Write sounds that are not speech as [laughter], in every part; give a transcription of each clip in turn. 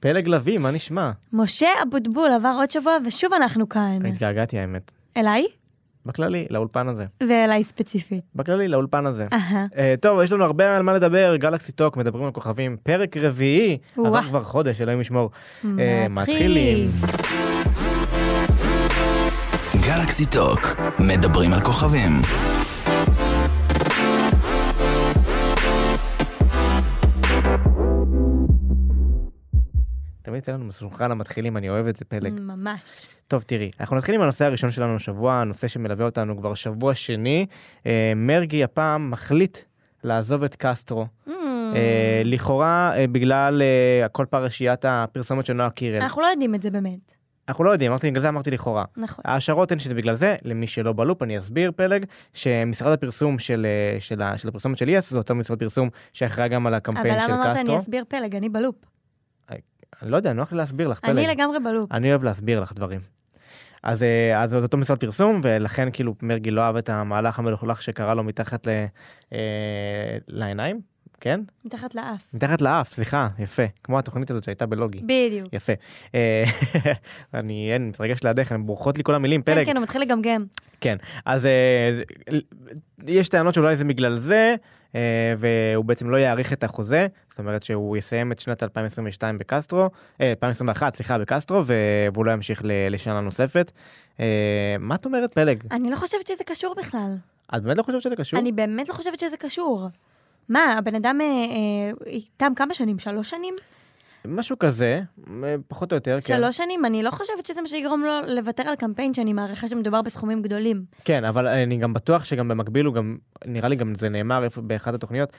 פלג לביא, מה נשמע? משה אבוטבול עבר עוד שבוע ושוב אנחנו כאן. התגעגעתי האמת. אליי? בכללי, לאולפן הזה. ואליי ספציפית. בכללי, לאולפן הזה. אהה. אה, טוב, יש לנו הרבה על מה לדבר, גלקסי טוק, מדברים על כוכבים, פרק רביעי, וואה. עבר כבר חודש, אלוהים ישמור. אה, מתחילים. גלקסי טוק, מדברים על כוכבים. תמיד אצלנו מסונכן המתחילים, אני אוהב את זה, פלג. ממש. טוב, תראי, אנחנו נתחיל עם הנושא הראשון שלנו השבוע, הנושא שמלווה אותנו כבר שבוע שני. אה, מרגי הפעם מחליט לעזוב את קסטרו. Mm. אה, לכאורה אה, בגלל אה, כל פרשיית הפרסומת של נועה קירל. אנחנו לא יודעים את זה באמת. באמת. אנחנו לא יודעים, אמרתי, בגלל זה אמרתי לכאורה. נכון. ההשערות הן שזה בגלל זה, למי שלא בלופ, אני אסביר פלג, שמשרד הפרסום של, אה, של, ה- של הפרסומת של יס, זה אותו משרד פרסום שאחראי גם על אבל הקמפיין של למה קסטרו. אמרת אני אסביר פלג? אני בלופ. אני לא יודע, נוח לי להסביר לך, פלג. אני לגמרי בלופ. אני אוהב להסביר לך דברים. אז אה, אז זה אותו משרד פרסום ולכן כאילו מרגי לא אהב את המהלך המלוכלך שקרה לו מתחת ל, אה, לעיניים, כן? מתחת לאף. מתחת לאף, סליחה, יפה, כמו התוכנית הזאת שהייתה בלוגי. בדיוק. יפה. אה, [laughs] אני אין, מתרגש לידך, הן בורחות לי כל המילים, כן, פלג. כן, הוא מתחיל לגמגם. כן, אז אה, יש טענות שאולי זה בגלל זה, אה, והוא בעצם לא יאריך את החוזה, זאת אומרת שהוא יסיים את שנת 2022 בקסטרו, אה, 2021, סליחה, בקסטרו, ו- והוא לא ימשיך ל- לשנה נוספת. אה, מה את אומרת, פלג? אני לא חושבת שזה קשור בכלל. את באמת לא חושבת שזה קשור? אני באמת לא חושבת שזה קשור. מה, הבן אדם אה, אה, איתם כמה שנים? שלוש שנים? כן. משהו כזה, אה, פחות או יותר, כן. שלוש שנים? אני לא חושבת שזה מה שיגרום לו לוותר על קמפיין שאני מעריכה שמדובר בסכומים גדולים. כן, אבל אני גם בטוח שגם במקביל הוא גם, נראה לי גם זה נאמר איפה- באחת התוכניות,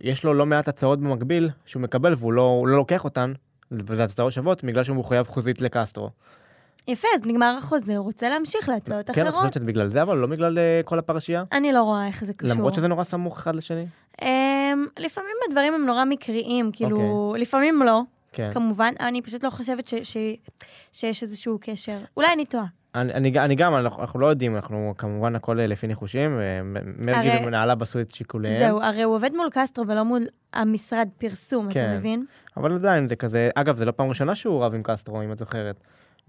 שיש לו לא מעט הצעות במקביל שהוא מקבל והוא לא, הוא לא לוקח אותן, וזה הצעות שוות, בגלל שהוא מחויב חוזית לקסטרו. יפה, אז נגמר החוזה, הוא רוצה להמשיך להצעות כן, את חושבת אחרות. שזה בגלל זה, אבל לא בגלל אה, כל הפרשייה? אני לא רואה איך זה קשור. למרות שזה נורא סמוך אחד לשני? אמ, לפעמים הדברים הם נורא מקריים, כאילו, לפעמים לא, אוקיי. כן. כמובן, אני פשוט לא חושבת ש- ש- שיש איזשהו קשר. אולי אני טועה. אני, אני, אני גם, אנחנו אנחנו לא יודעים, אנחנו כמובן הכל אה, לפי ניחושים, אה, מ- מרגי הרי- ומנהליו עשו את שיקוליהם. זהו, הרי הוא עובד מול קסטרו ולא מול המשרד פרסום, אתה כן. מבין? אבל עדיין זה כזה, אגב, זה לא פעם ראשונה שהוא רב עם קסטרו, אם את זוכרת.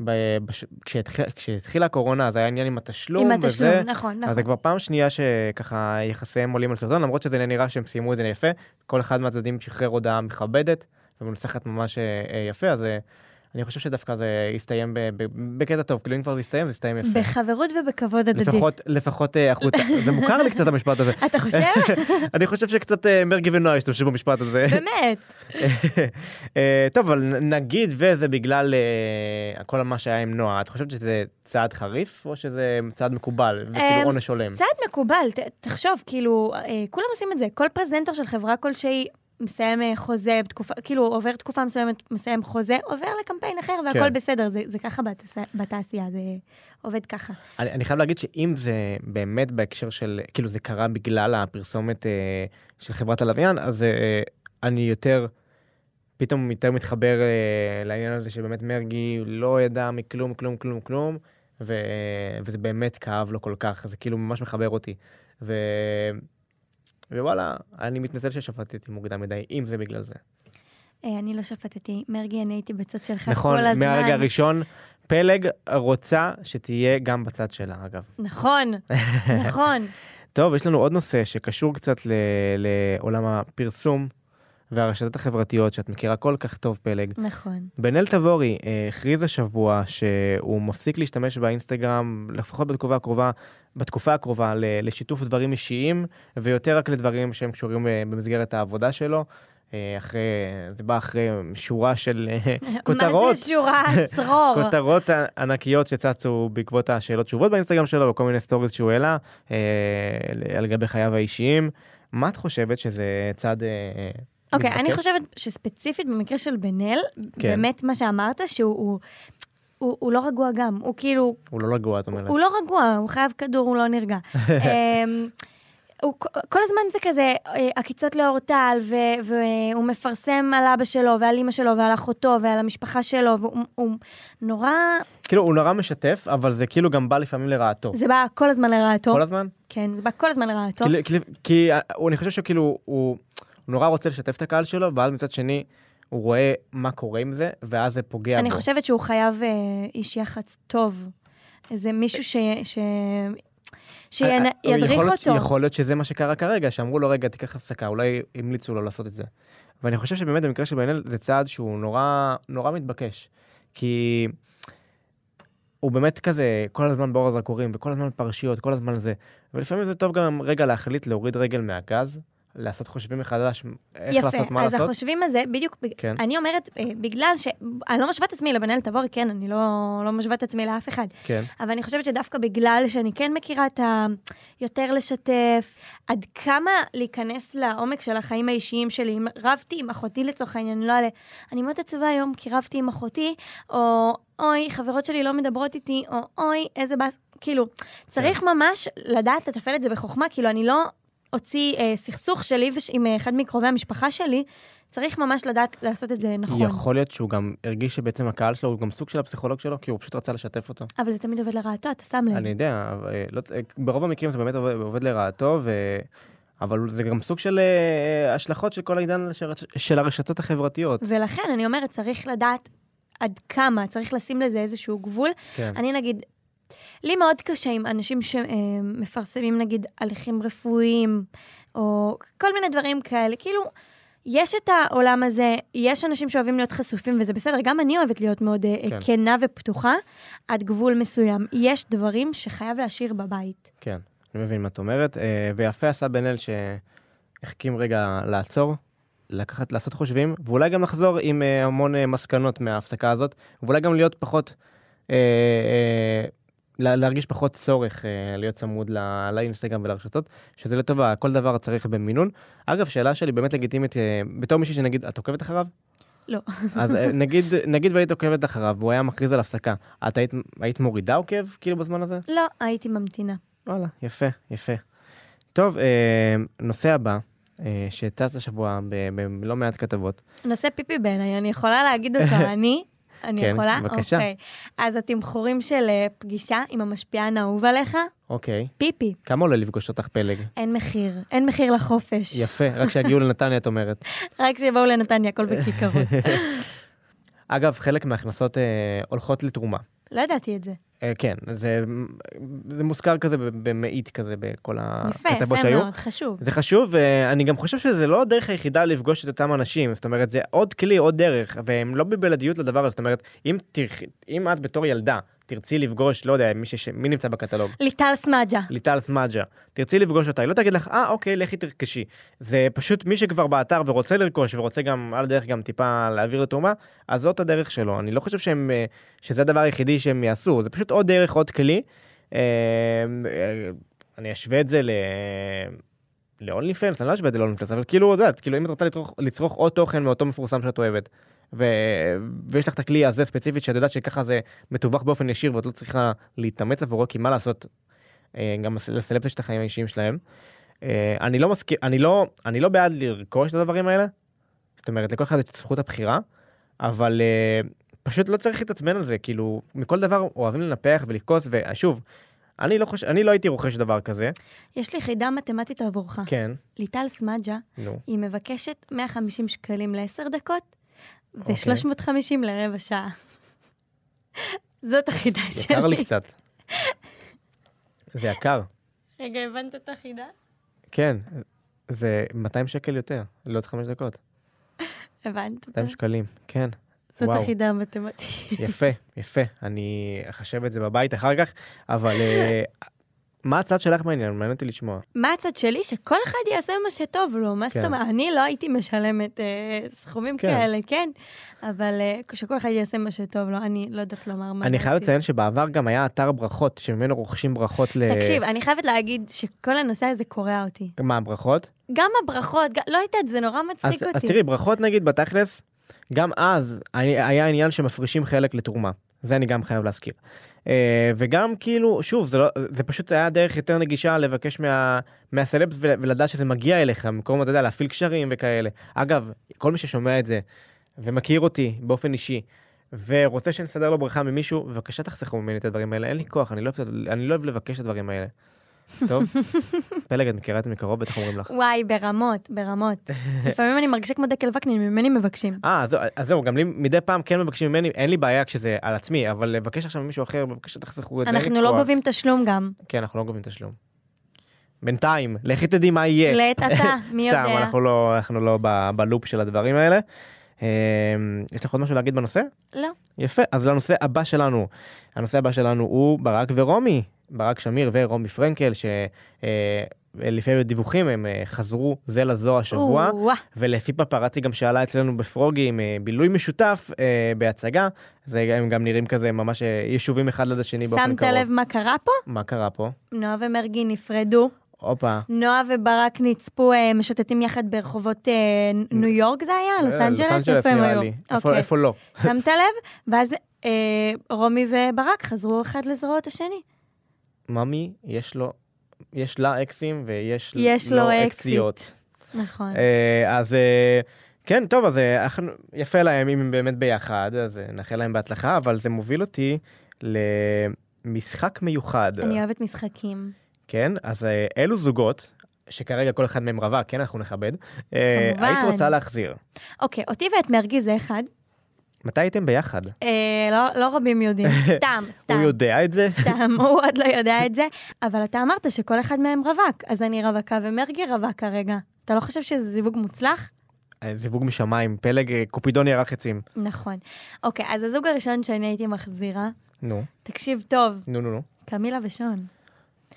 ב- בש... כשהתחיל... כשהתחילה הקורונה, אז היה עניין עם התשלום, עם התשלום, וזה... נכון, אז נכון. זה כבר פעם שנייה שככה יחסיהם עולים על סרטון, למרות שזה נראה שהם סיימו את זה יפה, כל אחד מהצדדים שחרר הודעה מכבדת ומנוסחת ממש אה, אה, יפה, אז אה, אני חושב שדווקא זה יסתיים ב- ב- בקטע טוב, כאילו אם כבר זה יסתיים, זה יסתיים יפה. בחברות ובכבוד הדדי. לפחות, לפחות אה, החוצה, זה מוכר לי קצת המשפט [laughs] הזה. אתה חושב? [laughs] אני חושב שקצת אה, מרגי ונועה השתמשו במשפט הזה. [laughs] באמת. אה, טוב, אבל נ- נגיד וזה בגלל אה, כל מה שהיה עם נועה, את חושבת שזה צעד חריף או שזה צעד מקובל אמ, וכאילו עונש הולם? צעד מקובל, ת, תחשוב, כאילו, אה, כולם עושים את זה. כל פרזנטור של חברה כלשהי מסיים אה, חוזה, בתקופה, כאילו עובר תקופה מסוימת, מסיים חוזה, עובר לקמפיין אחר והכל כן. בסדר, זה, זה ככה בתעש- בתעשייה, זה עובד ככה. אני, אני חייב להגיד שאם זה באמת בהקשר של, כאילו זה קרה בגלל הפרסומת אה, של חברת הלוויין, אז אה, אני יותר, פתאום יותר מתחבר אה, לעניין הזה שבאמת מרגי לא ידע מכלום, כלום, כלום, כלום, ו, וזה באמת כאב לו כל כך, זה כאילו ממש מחבר אותי. ו, ווואלה, אני מתנצל ששפטתי מוקדם מדי, אם זה בגלל זה. אה, אני לא שפטתי, מרגי, אני הייתי בצד שלך נכון, כל הזמן. מהרגע הראשון, פלג רוצה שתהיה גם בצד שלה, אגב. [laughs] נכון, נכון. טוב, יש לנו עוד נושא שקשור קצת ל- לעולם הפרסום והרשתות החברתיות שאת מכירה כל כך טוב, פלג. נכון. בן אל תבורי אה, הכריז השבוע שהוא מפסיק להשתמש באינסטגרם, לפחות בתקופה הקרובה, בתקופה הקרובה ל- לשיתוף דברים אישיים, ויותר רק לדברים שהם קשורים אה, במסגרת העבודה שלו. אה, אחרי, זה בא אחרי שורה של אה, [laughs] מה כותרות. זה שורה צרור? כותרות ענקיות שצצו בעקבות השאלות תשובות באינסטגרם שלו וכל מיני סטוריז שהוא העלה אה, על גבי חייו האישיים. מה את חושבת שזה צעד... אה, אוקיי, מתבקש? אני חושבת שספציפית במקרה של בן אל, כן. באמת מה שאמרת, שהוא הוא- הוא- הוא לא רגוע גם, הוא כאילו הוא לא רגוע, את אומרת. הוא לא רגוע, הוא חייב כדור, הוא לא [laughs] נרגע. אמ, הוא, כל הזמן זה כזה אה, עקיצות לאור טל, ו- והוא מפרסם על אבא שלו, ועל אימא שלו, ועל אחותו, ועל המשפחה שלו, והוא הוא נורא... כאילו, הוא נורא משתף, אבל זה כאילו גם בא לפעמים לרעתו. זה בא כל הזמן לרעתו. כל כאילו, הזמן? כן, זה בא כל הזמן לרעתו. כאילו- כאילו- כי אה, הוא- אני חושב שכאילו, הוא הוא נורא רוצה לשתף את הקהל שלו, ואז מצד שני, הוא רואה מה קורה עם זה, ואז זה פוגע אני בו. חושבת שהוא חייב אה, איש יח"צ טוב. איזה מישהו ש... ש... אה, אה, שידריך יכול להיות- אותו. יכול להיות שזה מה שקרה כרגע, שאמרו לו, רגע, תיקח הפסקה, אולי המליצו לו לעשות את זה. ואני חושב שבאמת במקרה של בן-אל זה צעד שהוא נורא, נורא מתבקש. כי הוא באמת כזה, כל הזמן באור הזרקורים, וכל הזמן פרשיות, כל הזמן זה. ולפעמים זה טוב גם רגע להחליט להוריד רגל מהגז, לעשות חושבים מחדש, איך יפה, לעשות, מה אז לעשות. החושבים הזה, בדיוק, בג- כן. אני אומרת, אה, בגלל ש... אני לא משווה את עצמי לבנאל תבורי, כן, אני לא, לא משווה את עצמי לאף אחד, כן. אבל אני חושבת שדווקא בגלל שאני כן מכירה את ה... יותר לשתף, עד כמה להיכנס לעומק של החיים האישיים שלי. אם רבתי עם אחותי לצורך העניין, לא עלה. אני מאוד עצובה היום כי רבתי עם אחותי, או אוי, חברות שלי לא מדברות איתי, או אוי, איזה באס... כאילו, צריך ממש לדעת לתפעל את זה בחוכמה, כאילו, אני לא אוציא אה, סכסוך שלי וש... עם אה, אחד מקרובי המשפחה שלי, צריך ממש לדעת לעשות את זה נכון. יכול להיות שהוא גם הרגיש שבעצם הקהל שלו הוא גם סוג של הפסיכולוג שלו, כי הוא פשוט רצה לשתף אותו. אבל זה תמיד עובד לרעתו, אתה שם לב. אני יודע, אבל, אה, לא, אה, ברוב המקרים זה באמת עובד, עובד לרעתו, ו... אבל זה גם סוג של אה, השלכות של כל העידן של, הרש- של הרשתות החברתיות. ולכן אני אומרת, צריך לדעת עד כמה, צריך לשים לזה איזשהו גבול. כן. אני נגיד, לי מאוד קשה עם אנשים שמפרסמים נגיד הליכים רפואיים, או כל מיני דברים כאלה, כאילו... יש את העולם הזה, יש אנשים שאוהבים להיות חשופים, וזה בסדר, גם אני אוהבת להיות מאוד אה, כן. כנה ופתוחה, עד גבול מסוים. יש דברים שחייב להשאיר בבית. כן, אני מבין מה את אומרת. אה, ויפה עשה בן אל שהחכים רגע לעצור, לקחת, לעשות חושבים, ואולי גם לחזור עם אה, המון אה, מסקנות מההפסקה הזאת, ואולי גם להיות פחות, אה, אה, לה- להרגיש פחות צורך אה, להיות צמוד לא, לאינסטגרם ולרשתות, שזה לטובה, כל דבר צריך במינון. אגב, שאלה שלי באמת לגיטימית, אה, בתור מישהי שנגיד, את עוקבת אחריו? לא. [laughs] אז אה, נגיד, נגיד והיית עוקבת אחריו, והוא היה מכריז על הפסקה, את היית, היית מורידה עוקב כאילו בזמן הזה? לא, הייתי ממתינה. וואלה, יפה, יפה. טוב, אה, נושא הבא, אה, שצץ השבוע ב- בלא מעט כתבות. נושא פיפי בעיניי, אני יכולה להגיד [laughs] אותו, אני? אני כן, יכולה? בבקשה. אוקיי. אז התמחורים של אה, פגישה עם המשפיען האהוב עליך, אוקיי, פיפי. כמה עולה לפגוש אותך פלג? אין מחיר, אין מחיר לחופש. יפה, רק שיגיעו לנתניה, את אומרת. [laughs] רק שיבואו לנתניה, הכל בכיכרות. [laughs] אגב, חלק מההכנסות אה, הולכות לתרומה. לא ידעתי את זה. אה, כן, זה, זה מוזכר כזה ב- במאית כזה בכל יפה, הכתבות יפה שהיו. מאוד, חשוב. זה חשוב, ואני גם חושב שזה לא הדרך היחידה לפגוש את אותם אנשים, זאת אומרת, זה עוד כלי, עוד דרך, והם לא בבלעדיות לדבר הזה, זאת אומרת, אם, תרח... אם את בתור ילדה תרצי לפגוש, לא יודע, מי, שש... מי נמצא בקטלוג, ליטל סמג'ה. ליטל סמג'ה, תרצי לפגוש אותה, היא לא תגיד לך, אה, אוקיי, לכי תרכשי. זה פשוט מי שכבר באתר ורוצה לרכוש ורוצה גם, על הדרך גם טיפה להעביר לתרומה, אז זאת הדרך שלו. אני לא חושב שהם, אה, שזה הדבר היחידי שהם יעשו, זה פשוט עוד דרך, עוד כלי. אה, אה, אני אשווה את זה ל... ל-only fans, אני לא אשווה את זה ל-only fans, אבל כאילו, את יודעת, כאילו אם את רוצה לצרוך, לצרוך עוד תוכן מאותו מפורסם שאת אוהבת, ו... ויש לך את הכלי הזה ספציפית שאת יודעת שככה זה מתווך באופן ישיר ואת לא צריכה להתאמץ עבורו, כי מה לעשות, אה, גם לס- לסלבס יש את החיים האישיים שלהם. אה, אני לא מסכים, אני לא, אני לא בעד לרכוש את הדברים האלה, זאת אומרת, לכל אחד יש את זכות הבחירה, אבל אה, פשוט לא צריך להתעצבן על זה, כאילו, מכל דבר אוהבים לנפח ולכעוס, ושוב, אני לא חושב, אני לא הייתי רוכש דבר כזה. יש לי חידה מתמטית עבורך. כן. ליטל סמג'ה, נו. היא מבקשת 150 שקלים לעשר דקות, אוקיי. ו-350 לרבע שעה. [laughs] זאת החידה שלי. יקר לי קצת. זה יקר, רגע, הבנת את החידה? כן. זה 200 שקל יותר, לעוד 5 דקות. הבנת אותה. 200 שקלים, כן. זאת וואו. החידה המתמטית. יפה, יפה. אני אחשב את זה בבית אחר כך, אבל אה, מה הצד שלך בעניין? מעניין אותי לשמוע. [laughs] מה הצד שלי? שכל אחד יעשה מה שטוב לו, מה כן. זאת אומרת? אני לא הייתי משלמת אה, סכומים כן. כאלה, כן? אבל אה, שכל אחד יעשה מה שטוב לו, אני לא יודעת לומר מה. אני חייב דעתי. לציין אה, שבעבר גם היה אתר ברכות, שממנו רוכשים ברכות ל... תקשיב, אני חייבת להגיד שכל הנושא הזה קורע אותי. מה, ברכות? גם הברכות, גם- לא יודעת, זה נורא אז, מצחיק אותי. אז תראי, ברכות נגיד בתכלס, גם אז אני- היה עניין שמפרישים חלק לתרומה. זה אני גם חייב להזכיר. אה, וגם כאילו, שוב, זה, לא, זה פשוט היה דרך יותר נגישה לבקש מה, מהסלבס ול- ולדעת שזה מגיע אליך, במקום, אתה יודע, להפעיל קשרים וכאלה. אגב, כל מי ששומע את זה ומכיר אותי באופן אישי, ורוצה שנסדר לו ברכה ממישהו, בבקשה תחסכו ממני את הדברים האלה, אין לי כוח, אני לא אוהב, את- אני לא אוהב לבקש את הדברים האלה. [laughs] טוב? פלג, את מכירה את זה מקרוב, בטח אומרים לך. וואי, ברמות, [laughs] ברמות. לפעמים אני מרגישה כמו דקל וקנין, ממני מבקשים. אה, אז זהו- אז זהו, גם לי מדי פעם כן מבקשים ממני, אין לי בעיה כשזה על עצמי, אבל לבקש עכשיו ממישהו אחר, בבקשה תחסכו את זה. אין לי אנחנו לא כוח. גובים תשלום גם. כן, אנחנו לא גובים תשלום. בינתיים, לכי תדעי מה יהיה. לעת [laughs] עתה, מי יודע. כן. סתם, אנחנו לא, אנחנו לא ב- בלופ של הדברים האלה. אמ, יש לך עוד משהו להגיד בנושא? לא. יפה, אז לנושא הבא שלנו. הנושא הבא שלנו הוא ברק ורומי, ברק שמיר ורומי פרנקל, שלפי דיווחים הם אה, חזרו זה לזו השבוע. או-אה. ולפי פפרצי גם שעלה אצלנו בפרוגי עם אה, בילוי משותף אה, בהצגה, זה גם- הם גם נראים כזה ממש אה, יישובים אחד ליד השני באופן שמת קרוב. לב מה קרה פה? מה קרה פה? נועה ומרגי נפרדו. הופה. נועה וברק נצפו אה, משוטטים יחד ברחובות אה, ניו יורק זה היה? לוס אה, אנג'לס? איפה הם נראה היו? לי. איפה- אוקיי. איפה לא? שמת לב? ואז אה, רומי וברק חזרו אחד לזרועות השני. ממי, יש לו, יש לה אקסים ויש יש לו אקסית. אקסיות. נכון. אה, אז אה, כן, טוב, אז אה, אנחנו- יפה להם אם הם באמת ביחד, אז אה, נאחל להם בהצלחה, אבל זה מוביל אותי למשחק מיוחד. אני אוהבת משחקים. כן, אז אה, אלו זוגות, שכרגע כל אחד מהם רווק, כן, אנחנו נכבד, אה, כמובן. היית רוצה להחזיר. אוקיי, אותי ואת מרגי זה אחד. מתי הייתם ביחד? אה, לא- לא [laughs] רבים יודעים, סתם, סתם. הוא יודע את זה? סתם, הוא עוד לא יודע את זה. אבל אתה אמרת שכל אחד מהם רווק, אז אני רווקה ומרגי רווק כרגע. אתה לא חושב שזה זיווג מוצלח? אה, זיווג משמיים, פלג אה, קופידון ירח עצים. נכון. אוקיי, אז הזוג הראשון שאני הייתי מחזירה, נו, תקשיב טוב, נו, נו, נו. קמילה ושון.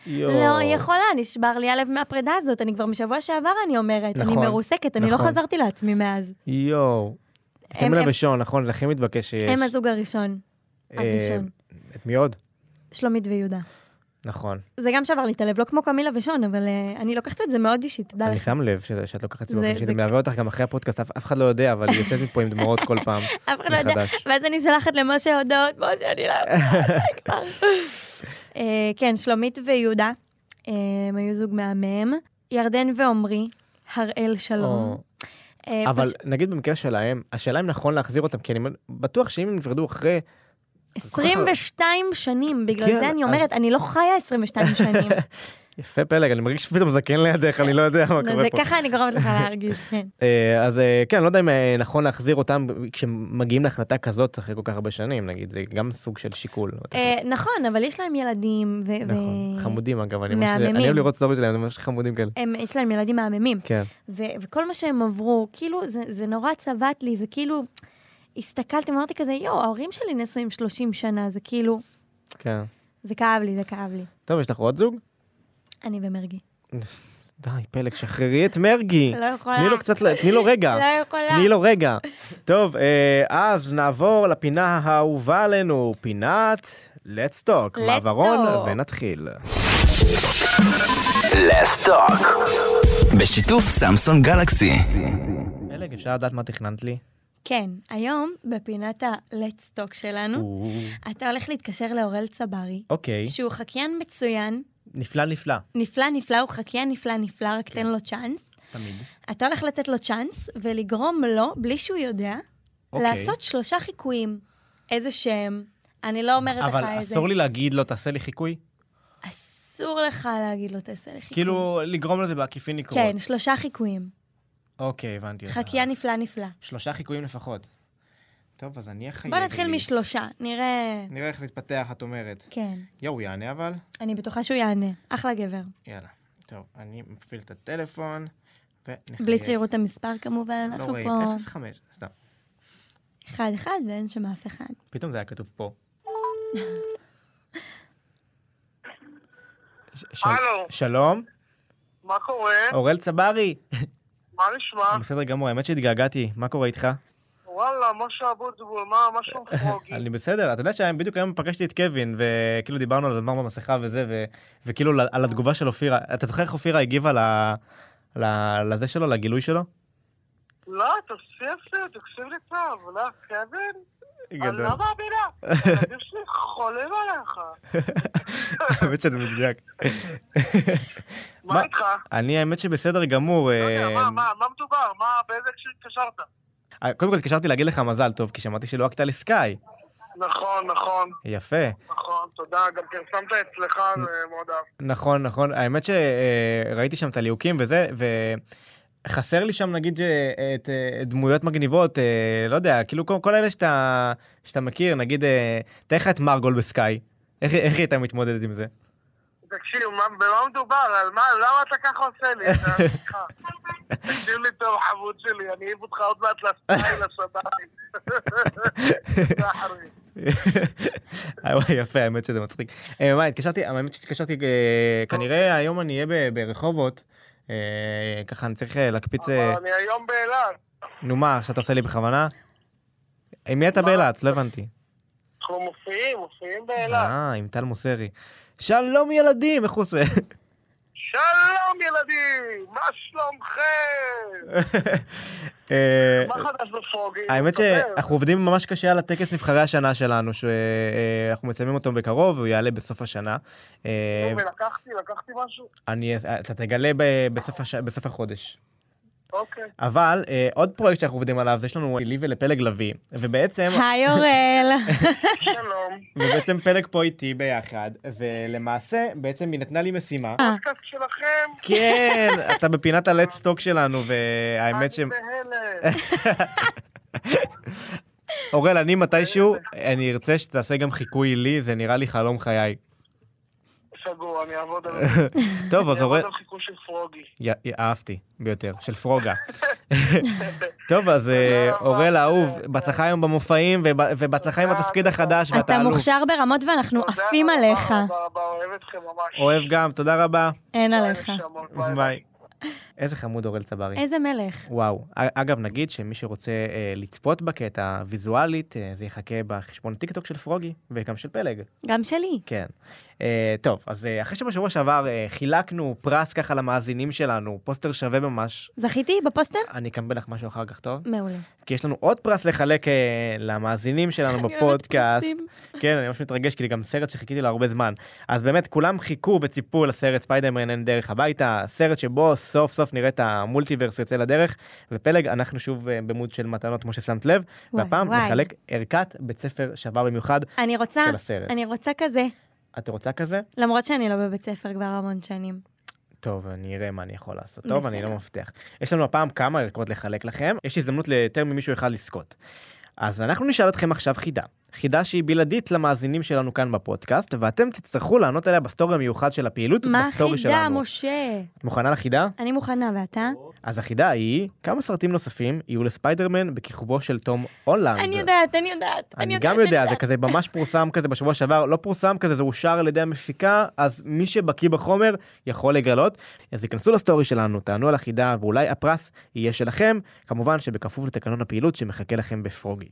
יואו. לא יכולה, נשבר לי הלב מהפרידה הזאת, אני כבר משבוע שעבר אני אומרת, אני נכון, מרוסקת, אני לא נכון. חזרתי לעצמי מאז. יואו. הם- קמילה הם- ושון, נכון, זה הכי מתבקש שיש. הם הזוג הראשון, אה, הראשון, את מי עוד? שלומית ויהודה. נכון. זה גם שבר לי את הלב, לא כמו קמילה ושון, אבל אה, אני לוקחת את זה מאוד אישית, תדע אני לא, לך. שם לב שזה- שאת לוקחת את זה זה- באופן אישי, זה- זה מלווה אותך גם אחרי הפודקאסט, אף- אף אחד לא יודע, אבל היא יוצאת מפה עם דמעות כל פעם. אף אחד לא יודע, מחדש. ואז אני שולחת למשה הודעות, משה, אני לא יודעת זה [laughs] כבר. אה, כן, שלומית ויהודה, אה, הם היו זוג מהמם. ירדן ועמרי, הראל שלום. או. אה, אבל פש- נגיד במקרה שלהם, השאלה אם נכון להחזיר אותם, כי אני בטוח שאם הם נפרדו אחרי 22 שנים, בגלל כן, זה אז- אני אומרת, אני לא חיה 22 [laughs] שנים. יפה פלג, אני מרגיש שפתאום זקן לידך, אני לא יודע מה קורה זה פה. ככה אני גורמת לך להרגיש, [laughs] כן. אה, אז אה, כן, אני לא יודע אם אה, נכון להחזיר אותם כשמגיעים להחלטה כזאת אחרי כל כך הרבה שנים, נגיד, זה גם סוג של שיקול. אה, נכון, אבל יש להם ילדים, ו... נכון, ו- חמודים אגב, אני ממש- מהממים. אה. אני אוהב לראות סטורי שלהם, הם ממש חמודים כאלה. הם- יש להם ילדים מהממים. כן, ו- וכל מה שהם עברו, כאילו, זה, זה נורא צבט לי, זה כאילו, הסתכלתי, אמרתי כזה, יואו, ההורים שלי נשואים 30 שנה, זה כאילו, כן. זה כאב לי, זה כאב לי. טוב, יש לך עוד זוג? אני ומרגי. די, פלג, שחררי את מרגי. לא יכולה. תני לו קצת, ל- תני לו רגע. לא יכולה. תני לו רגע. טוב, אה, אז נעבור לפינה האהובה עלינו, פינת Let's Talk, Let's מעברון, Talk. ונתחיל. לסטוק. בשיתוף סמסון גלקסי. פלג, אפשר לדעת מה תכננת לי? כן, היום, בפינת ה-let's talk שלנו, אתה הולך להתקשר לאורל צברי, אוקיי, שהוא חקיין מצוין, נפלא נפלא, נפלא נפלא, הוא חקיין נפלא נפלא, רק כן. תן לו צ'אנס. תמיד. אתה הולך לתת לו צ'אנס ולגרום לו, בלי שהוא יודע, אוקיי. לעשות שלושה חיקויים. איזה שם, אני לא אומרת לך אבל איזה. אסור לי להגיד לו, תעשה לי חיקוי? אסור לך להגיד לו תעשה לי חיקוי. כאילו, לגרום לזה בעקיפין לקרות. כן, שלושה חיקויים. אוקיי, הבנתי אותך. חקייה נפלא נפלא. שלושה חיקויים לפחות. טוב, אז אני אחייב. בוא נתחיל לי. משלושה, נראה... נראה איך זה יתפתח, את אומרת. כן. יואו, יענה אבל? אני בטוחה שהוא יענה. אחלה גבר. יאללה. טוב, אני מפעיל את הטלפון, ונחייב. בלי שיראו את המספר כמובן, לא אנחנו רואים, פה 05, סתם. אחד אחד ואין שם אף אחד. פתאום זה היה כתוב פה. ש- של- הלו. שלום, מה קורה? אורל צברי. מה נשמע? בסדר גמור, האמת שהתגעגעתי, מה קורה איתך? וואלה, משה אבוטבול, מה, מה שלומך רוגי? אה, אני בסדר, אתה יודע שבדיוק היום פגשתי את קווין, וכאילו דיברנו על זמר במסכה וזה, ו- וכאילו ל- על התגובה של אופירה, אתה זוכר איך אופירה הגיבה ל- ל- לזה שלו, לגילוי שלו? לא, תעשי את זה, תקשיב לי טוב, לא, קווין? אני גדול. לא מאמינה. הילדים שלי חולים עליך. [laughs] האמת שזה מדויק. מה איתך? אני האמת שבסדר גמור. לא יודע, אה, מה, מה, מה מדובר? מה, באיזה הקשר התקשרת? אה, קודם כל התקשרתי להגיד לך מזל טוב, כי שמעתי שלא רק הייתה לי סקאי. נכון, נכון, יפה. נכון. תודה, גם פרסמת אצלך, זה מאוד אהב. נכון, נכון. האמת שראיתי שם את הליהוקים וזה, וחסר לי שם נגיד אה, את אה, דמויות מגניבות, אה, לא יודע, כאילו כל, כל אלה שאתה, שאתה מכיר, נגיד, אה, תאר לך את מרגול בסקאי, איך, איך היא הייתה מתמודדת עם זה? תקשיב, מה- במה מדובר? על מה, למה אתה ככה עושה לי? אתה- סליחה. תקשיב לי טוב, חמוד שלי, אני אעיף אותך עוד מעט לסטייל [laughs] השב"כי. סחרי. אה, וואי, יפה, האמת שזה מצחיק. אה, מה, התקשרתי, האמת שהתקשרתי, אה, כנראה היום אני אהיה ב- ברחובות, אה, ככה אני צריך אה, להקפיץ, אה, אבל אני היום באילת, נו מה, שאתה עושה לי בכוונה? עם מי אתה מה? באילת? לא הבנתי. אנחנו מופיעים, מופיעים באילת. אה, עם טל מוסרי. שלום ילדים, איך הוא עושה? שלום ילדים, מה שלומכם? [laughs] אה, מה חדש בפרוגי? האמת מסתדר. שאנחנו עובדים ממש קשה על הטקס נבחרי השנה שלנו, שאנחנו מצלמים אותו בקרוב, הוא יעלה בסוף השנה. אה, נו, ולקחתי, לקחתי משהו? אני, אתה תגלה ב- בסוף הש- בסוף החודש. [laughs] אוקיי. אבל אה, עוד פרויקט שאנחנו עובדים עליו, זה יש לנו אה, לי ולפלג לביא, [laughs] ובעצם, [laughs] היי אוראל. שלום. ובעצם פלג פה איתי ביחד, ולמעשה, בעצם היא נתנה לי משימה. אה. הפודקאסט שלכם? [laughs] כן, אתה בפינת ה-let's talk שלנו, והאמת ש... אני בהלם. [laughs] אורל, אני מתישהו, אני ארצה שתעשה גם חיקוי לי, זה נראה לי חלום חיי. סגור, [laughs] אני אעבוד על זה. טוב, [laughs] אני אז אעבוד אורל... על חיקוי של פרוגי. יא- יא- אהבתי ביותר, של פרוגה. [laughs] טוב, אז אה, תודה רבה. אורל האהוב, בהצלחה היום במופעים, וב- ובהצלחה עם תודה, התפקיד תודה. החדש אתה והתעלוף. מוכשר ברמות ואנחנו תודה עפים רבה, עליך. רבה, רבה, אוהב אתכם ממש. אוהב גם, תודה רבה. אין ביי, עליך. נשמות, [laughs] ביי. איזה חמוד אורל צברי. איזה מלך. וואו. א- אגב, נגיד שמי שרוצה אה, לצפות בקטע ויזואלית, אה, זה יחכה בחשבון טיקטוק של פרוגי, וגם של פלג. גם שלי. כן. Uh, טוב, אז uh, אחרי שבשבוע שעבר uh, חילקנו פרס ככה למאזינים שלנו, פוסטר שווה ממש. זכיתי בפוסטר? אני אקמבל לך משהו אחר כך, טוב? מעולה. כי יש לנו עוד פרס לחלק uh, למאזינים שלנו [laughs] אני אוהבת בפודקאסט. פרסים. כן, אני ממש מתרגש, כי זה גם סרט שחיכיתי לו הרבה זמן. אז באמת, כולם חיכו וציפו לסרט ספיידרמן אין דרך הביתה, סרט שבו סוף סוף נראה את המולטיברס יוצא לדרך, ופלג, אנחנו שוב אה, במוד של מתנות, כמו ששמת לב, וואי, והפעם וואי. נחלק ערכת בית ספר שווה במיוחד אני רוצה, של הסרט. אני רוצה כזה, את רוצה כזה? למרות שאני לא בבית ספר כבר המון שנים. טוב, אני אראה מה אני יכול לעשות. טוב, אני לא בסדר. מבטיח. יש לנו הפעם כמה ערכות לחלק לכם, יש הזדמנות ליותר ממישהו אחד לזכות. אז אנחנו נשאל אתכם עכשיו חידה. חידה שהיא בלעדית למאזינים שלנו כאן בפודקאסט, ואתם תצטרכו לענות עליה בסטורי המיוחד של הפעילות, מה בסטורי שלנו. החידה, משה? את מוכנה לחידה? אני מוכנה, ואתה? אז החידה היא, כמה סרטים נוספים יהיו לספיידרמן בכיכובו של תום הולנד? אני יודעת, אני יודעת, אני אני יודעת, גם יודע, זה כזה ממש פורסם כזה בשבוע שעבר, לא פורסם כזה, זה אושר על ידי המפיקה, אז מי שבקיא בחומר יכול לגלות. אז היכנסו לסטורי שלנו, תענו על החידה, ואולי הפרס יהיה שלכם, כמובן שבכפוף לתקנון הפעילות שמחכה לכם בפרוגי.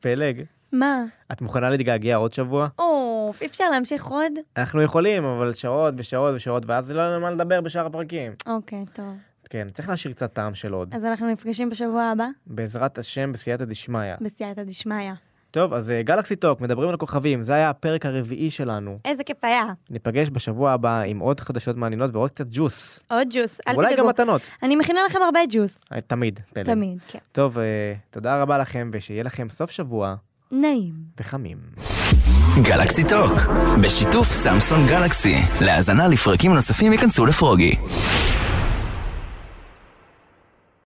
פלג, מה? את מוכנה להתגעגע עוד שבוע? אוף, אי אפשר להמשיך עוד? אנחנו יכולים, אבל שעות ושעות ושעות, ואז לא יהיה לנו מה לדבר בשאר הפרקים. אוקיי, טוב. כן, צריך להשאיר קצת טעם של עוד. אז אנחנו נפגשים בשבוע הבא, בעזרת השם, בסייעתא דשמיא. בסייעתא דשמיא. טוב, אז אה, גלקסי טוק, מדברים על הכוכבים, זה היה הפרק הרביעי שלנו. איזה כיף היה. ניפגש בשבוע הבא עם עוד חדשות מעניינות ועוד קצת ג'וס. עוד ג'וס, אל אולי גם תדאגו. מתנות. אה, אני מכינה לכם הרבה ג'וס, תמיד, פלג. תמיד, כן. טוב, אה, תודה רבה לכם, ושיהיה לכם סוף שבוע נעים. וחמים. גלקסי טוק, בשיתוף סמסון גלקסי. להאזנה לפרקים נוספים ייכנסו לפרוגי.